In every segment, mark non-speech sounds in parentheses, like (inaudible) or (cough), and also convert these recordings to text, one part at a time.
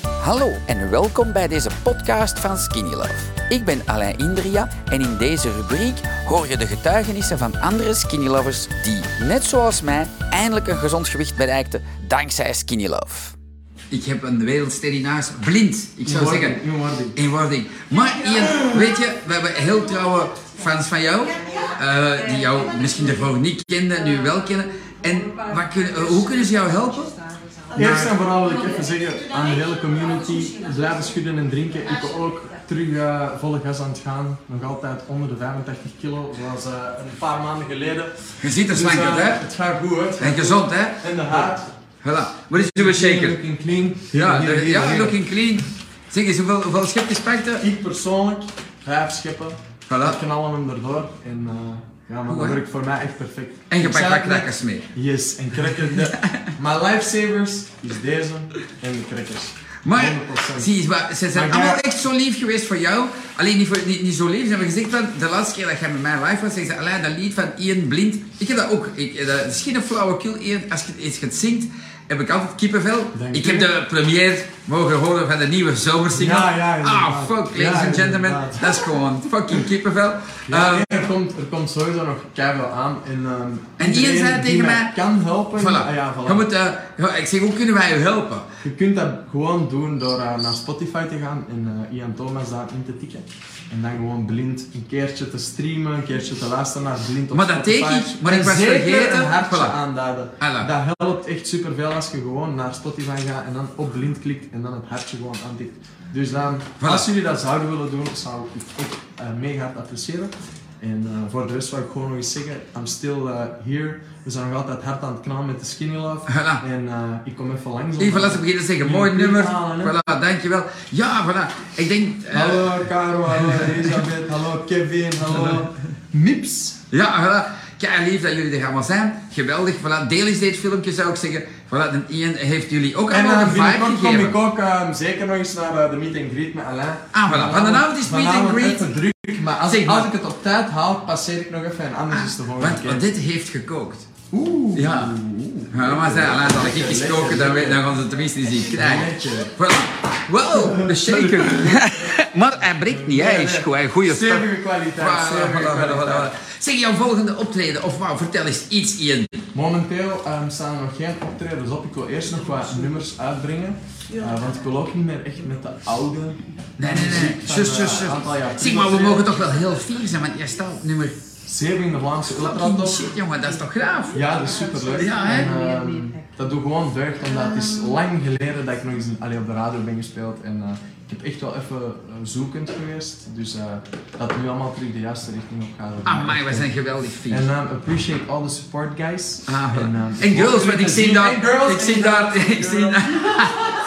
Hallo en welkom bij deze podcast van Skinny Love. Ik ben Alain Indria en in deze rubriek hoor je de getuigenissen van andere Skinny Lovers die, net zoals mij, eindelijk een gezond gewicht bereikten dankzij Skinny Love. Ik heb een wereldster in huis, blind, ik zou In wording, zeggen. in wording. In wording. Maar Ian, weet je, we hebben heel trouwe fans van jou, eh, die jou misschien daarvoor niet kenden, nu wel kennen. En wat kunnen, eh, hoe kunnen ze jou helpen? Eerst en vooral wil ik even zeggen aan de hele community, blijven schudden en drinken. Ik ben ook terug eh, volle gas aan het gaan. Nog altijd onder de 85 kilo, zoals eh, een paar maanden geleden. Je ziet er Dus, slank uit, eh, hè? Het gaat goed, hè? En gezond, hè? En de haat. Voilà. Wat is uw shaker? Looking clean. Ja, Hier, de- hier, ja hier. looking clean. Zeg eens, hoeveel, hoeveel schepjes pakt er? Ik persoonlijk, vijf scheppen. Voilà. Ik knallen hem erdoor. En eh, ja, maar Goed, dat hè? werkt voor mij echt perfect. En je Ik pakt zei wat het net, knakkers mee. Yes, en (laughs) crackers. De- Mijn lifesavers is deze en de crackers. Maar, 100%. zie eens, wat- ze zijn Maar jij- allemaal echt zo lief geweest voor jou. Alleen niet, voor- niet, niet zo lief. Ze hebben gezegd, van, de laatste keer dat jij met mij live was, zeggen ze, "Allee, dat lied van Ian Blind. Ik heb dat ook. Ik, eh, dat is geen flauwekul, Ian. Als je iets gaat zingt, heb ik altijd kippenvel. Dank ik u. heb de première mogen horen van de nieuwe zomersingle. Ja, ja, ah, inderdaad. fuck, Ja, ladies and gentlemen. inderdaad. Dat is gewoon fucking kippenvel. Ja, Ehm, nee, er, komt, er komt sowieso nog keihard aan. En, ehm, En Ian iedereen zei die tegen mij- kan helpen. Voilà. Ah, ja, voilà. Je moet, eh, ja, ik zeg, hoe kunnen wij u helpen? Je kunt dat gewoon doen door eh, naar Spotify te gaan en eh, Ian Thomas daar in te tikken. En dan gewoon blind een keertje te streamen, een keertje te luisteren naar blind op Maar dat Spotify. deed ik, maar ik En was zeker vergeten. een hartje Voilà. aanduiden. Voilà. Dat helpt echt superveel als je gewoon naar Spotify gaat en dan op blind klikt en dan het hartje gewoon aantikt. Dus dan, Voilà. als jullie dat zouden willen doen, zou ik het eh, mega hard appreciëren. En eh, voor de rest wil ik gewoon nog eens zeggen, I'm still eh, here. We zijn nog altijd hard aan het knallen met de Skinny Love. Voilà. En eh, ik kom even langs. om- Even laten beginnen te zeggen, mooi Ja, Nou, nummer. hè. Voilà, dankjewel. Ja, voilà. Ik denk... eh, Hallo Caro, hallo Elisabeth, hallo Kevin, hallo Mips. ja, voilà. Kei lief dat jullie er allemaal zijn. Geweldig. Voilà, deel eens dit filmpje, zou ik zeggen. Voilà, en Ian heeft jullie ook En allemaal eh, een vibe binnenkort kom gegeven. ik ook eh, zeker nog eens naar eh, de meet and greet met Alain. Ah, voilà. Vanavond is meet and Vanavond greet. even druk, maar als, Zeg ik, maar. Ah, als ik het op tijd haal, passeer ik nog even en anders is de volgende Want, keer. want dit heeft gekookt. Oeh. Ja. Ja, maar zei, laat zal ik eens lekker, koken, dan, we- dan gaan ze het tenminste niet zien krijgen. Lekker. Voilà. Wow, de (laughs) shaker. (laughs) maar hij breekt niet, hij is goed. Goeie stap. Stevige kwaliteit, Voilà, stevige voilà, voilà, kwaliteit. voilà. Zeg jouw volgende optreden, of wauw, vertel eens iets Ian. Momenteel ehm, staan er nog geen optredens op. Ik wil eerst nog wat nummers uitbrengen. Eh, want ik wil ook niet meer echt met de oude. Nee, nee, nee. muziek van, Zus, zus, eh, zus. een aantal jaar Zeg terug maar, we optreden. mogen toch wel heel fier zijn, want jij staat op nummer Zeven in de Vlaamse fucking Ultratop. shit, jongen, dat is toch graaf? Ja, dat is superleuk. Ja, hè? En, ehm, dat doet gewoon deugd, omdat het is lang geleden dat ik nog eens allee, op de radio ben gespeeld. En eh, ik heb echt wel even eh, zoekend geweest. Dus eh, dat nu allemaal terug de juiste richting op gaat. dat doet me Amai, echt we zijn geweldig fier. En um, appreciate all the support, guys. Ah, en, um, en girls, want ik zie daar, En girls, ik zie en daar, girls. ik zie daar.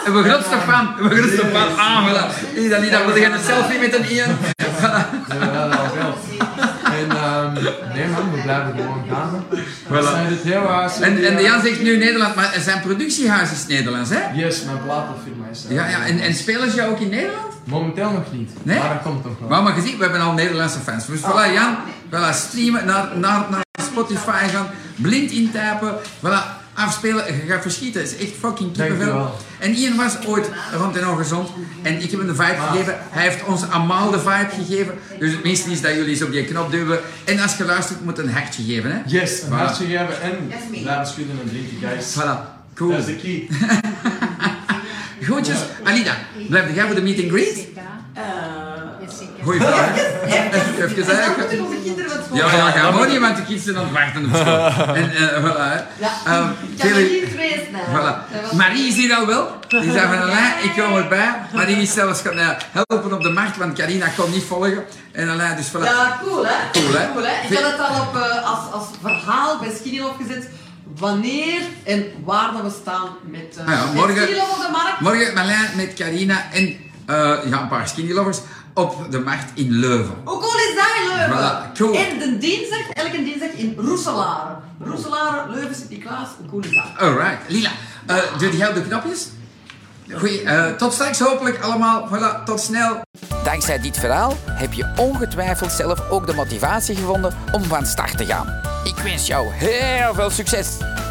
En we grootste fan, we grootste fan. Ah, voilà. Ida, Ida, wil je een selfie met een Ian? Ja, dat wel. En ehm, nee man, we blijven gewoon gaan. We zijn het heel eh, hard. En, en de Jan zegt nu Nederland, maar zijn productiehuis is Nederlands, hè? Yes, mijn platenfirma is daar. Ja, ja, en, en spelen ze jou ook in Nederland? Momenteel nog niet, Nee? maar dat komt toch wel. Maar maar gezien, we hebben al Nederlandse fans. Dus voilà, Jan, voilà, streamen, naar, naar, naar Spotify gaan, blind intypen, voilà, afspelen, je gaat verschieten. Het is echt fucking kippenvel. Dankjewel. En Ian was ooit rond en ongezond en ik heb hem de vibe gegeven. Hij heeft ons allemaal de vibe gegeven. Dus het minste is dat jullie eens op die knop duwen. En als je luistert, moet een hartje geven, hè. Yes, een Voilà. hartje geven en blijven schudden en drinken, guys. Voilà, Dat cool. is de key. Goedjes. Alida, blijf jij voor de meet and greet? Goeie vraag. Even, even, even. Ja, ja, ga maar niet, want de kinderen zijn aan het wachten op school. En eh, voilà, hè. Ehm, Tilly, Eh, nou. voilà. Marie is hier al wel. Die zei van, Alain, ik kom erbij. Marie is zelfs gaan eh, helpen op de markt, want Carina kon niet volgen. En Alain, dus voilà. Ja, cool hè? Cool, hè? Ik had het al op, eh, als, als verhaal bij Skinny Love gezet. Wanneer en waar dat we staan met, eh Ah ja, met morgen- Skinny Love op de markt. Morgen Marlijn met Carina en eh, ja, een paar skinny lovers op de markt in Leuven. Hoe cool is dat in Leuven? Voilà, cool. En de dinsdag, elke dinsdag in Roeselare. Roeselare, Leuven, Sint-Niklaas. Hoe cool is dat? Alright, Lila, eh doe jij op de knopjes? Goeie, eh, tot straks hopelijk allemaal. Voilà, tot snel. Dankzij dit verhaal heb je ongetwijfeld zelf ook de motivatie gevonden om van start te gaan. Ik wens jou heel veel succes.